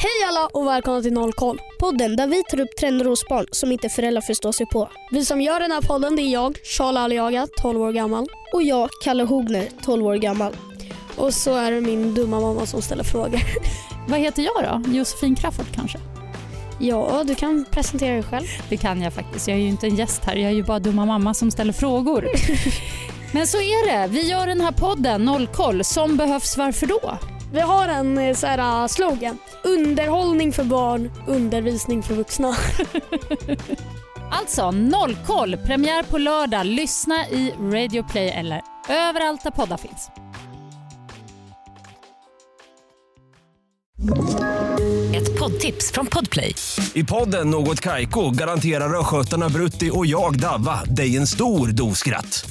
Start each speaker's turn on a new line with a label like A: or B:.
A: Hej alla och välkomna till Nollkoll.
B: Podden där vi tar upp trender hos barn som inte föräldrar förstår sig på.
A: Vi som gör den här podden det är jag, Charles Aliaga, 12 år gammal.
B: Och jag, Kalle Hogner, 12 år gammal.
A: Och så är det min dumma mamma som ställer frågor.
C: Vad heter jag då? Josefin Crafoord kanske?
A: Ja, du kan presentera dig själv.
C: Det kan jag faktiskt. Jag är ju inte en gäst här. Jag är ju bara dumma mamma som ställer frågor. Men så är det. Vi gör den här podden Nollkoll som behövs. Varför då?
A: Vi har en eh, så här, eh, slogan. Underhållning för barn, undervisning för vuxna.
C: Alltså Nollkoll, premiär på lördag. Lyssna i Radio Play eller överallt där poddar finns.
D: Ett poddtips från Podplay.
E: I podden Något Kaiko garanterar östgötarna Brutti och jag, Davva, dig en stor dos skratt.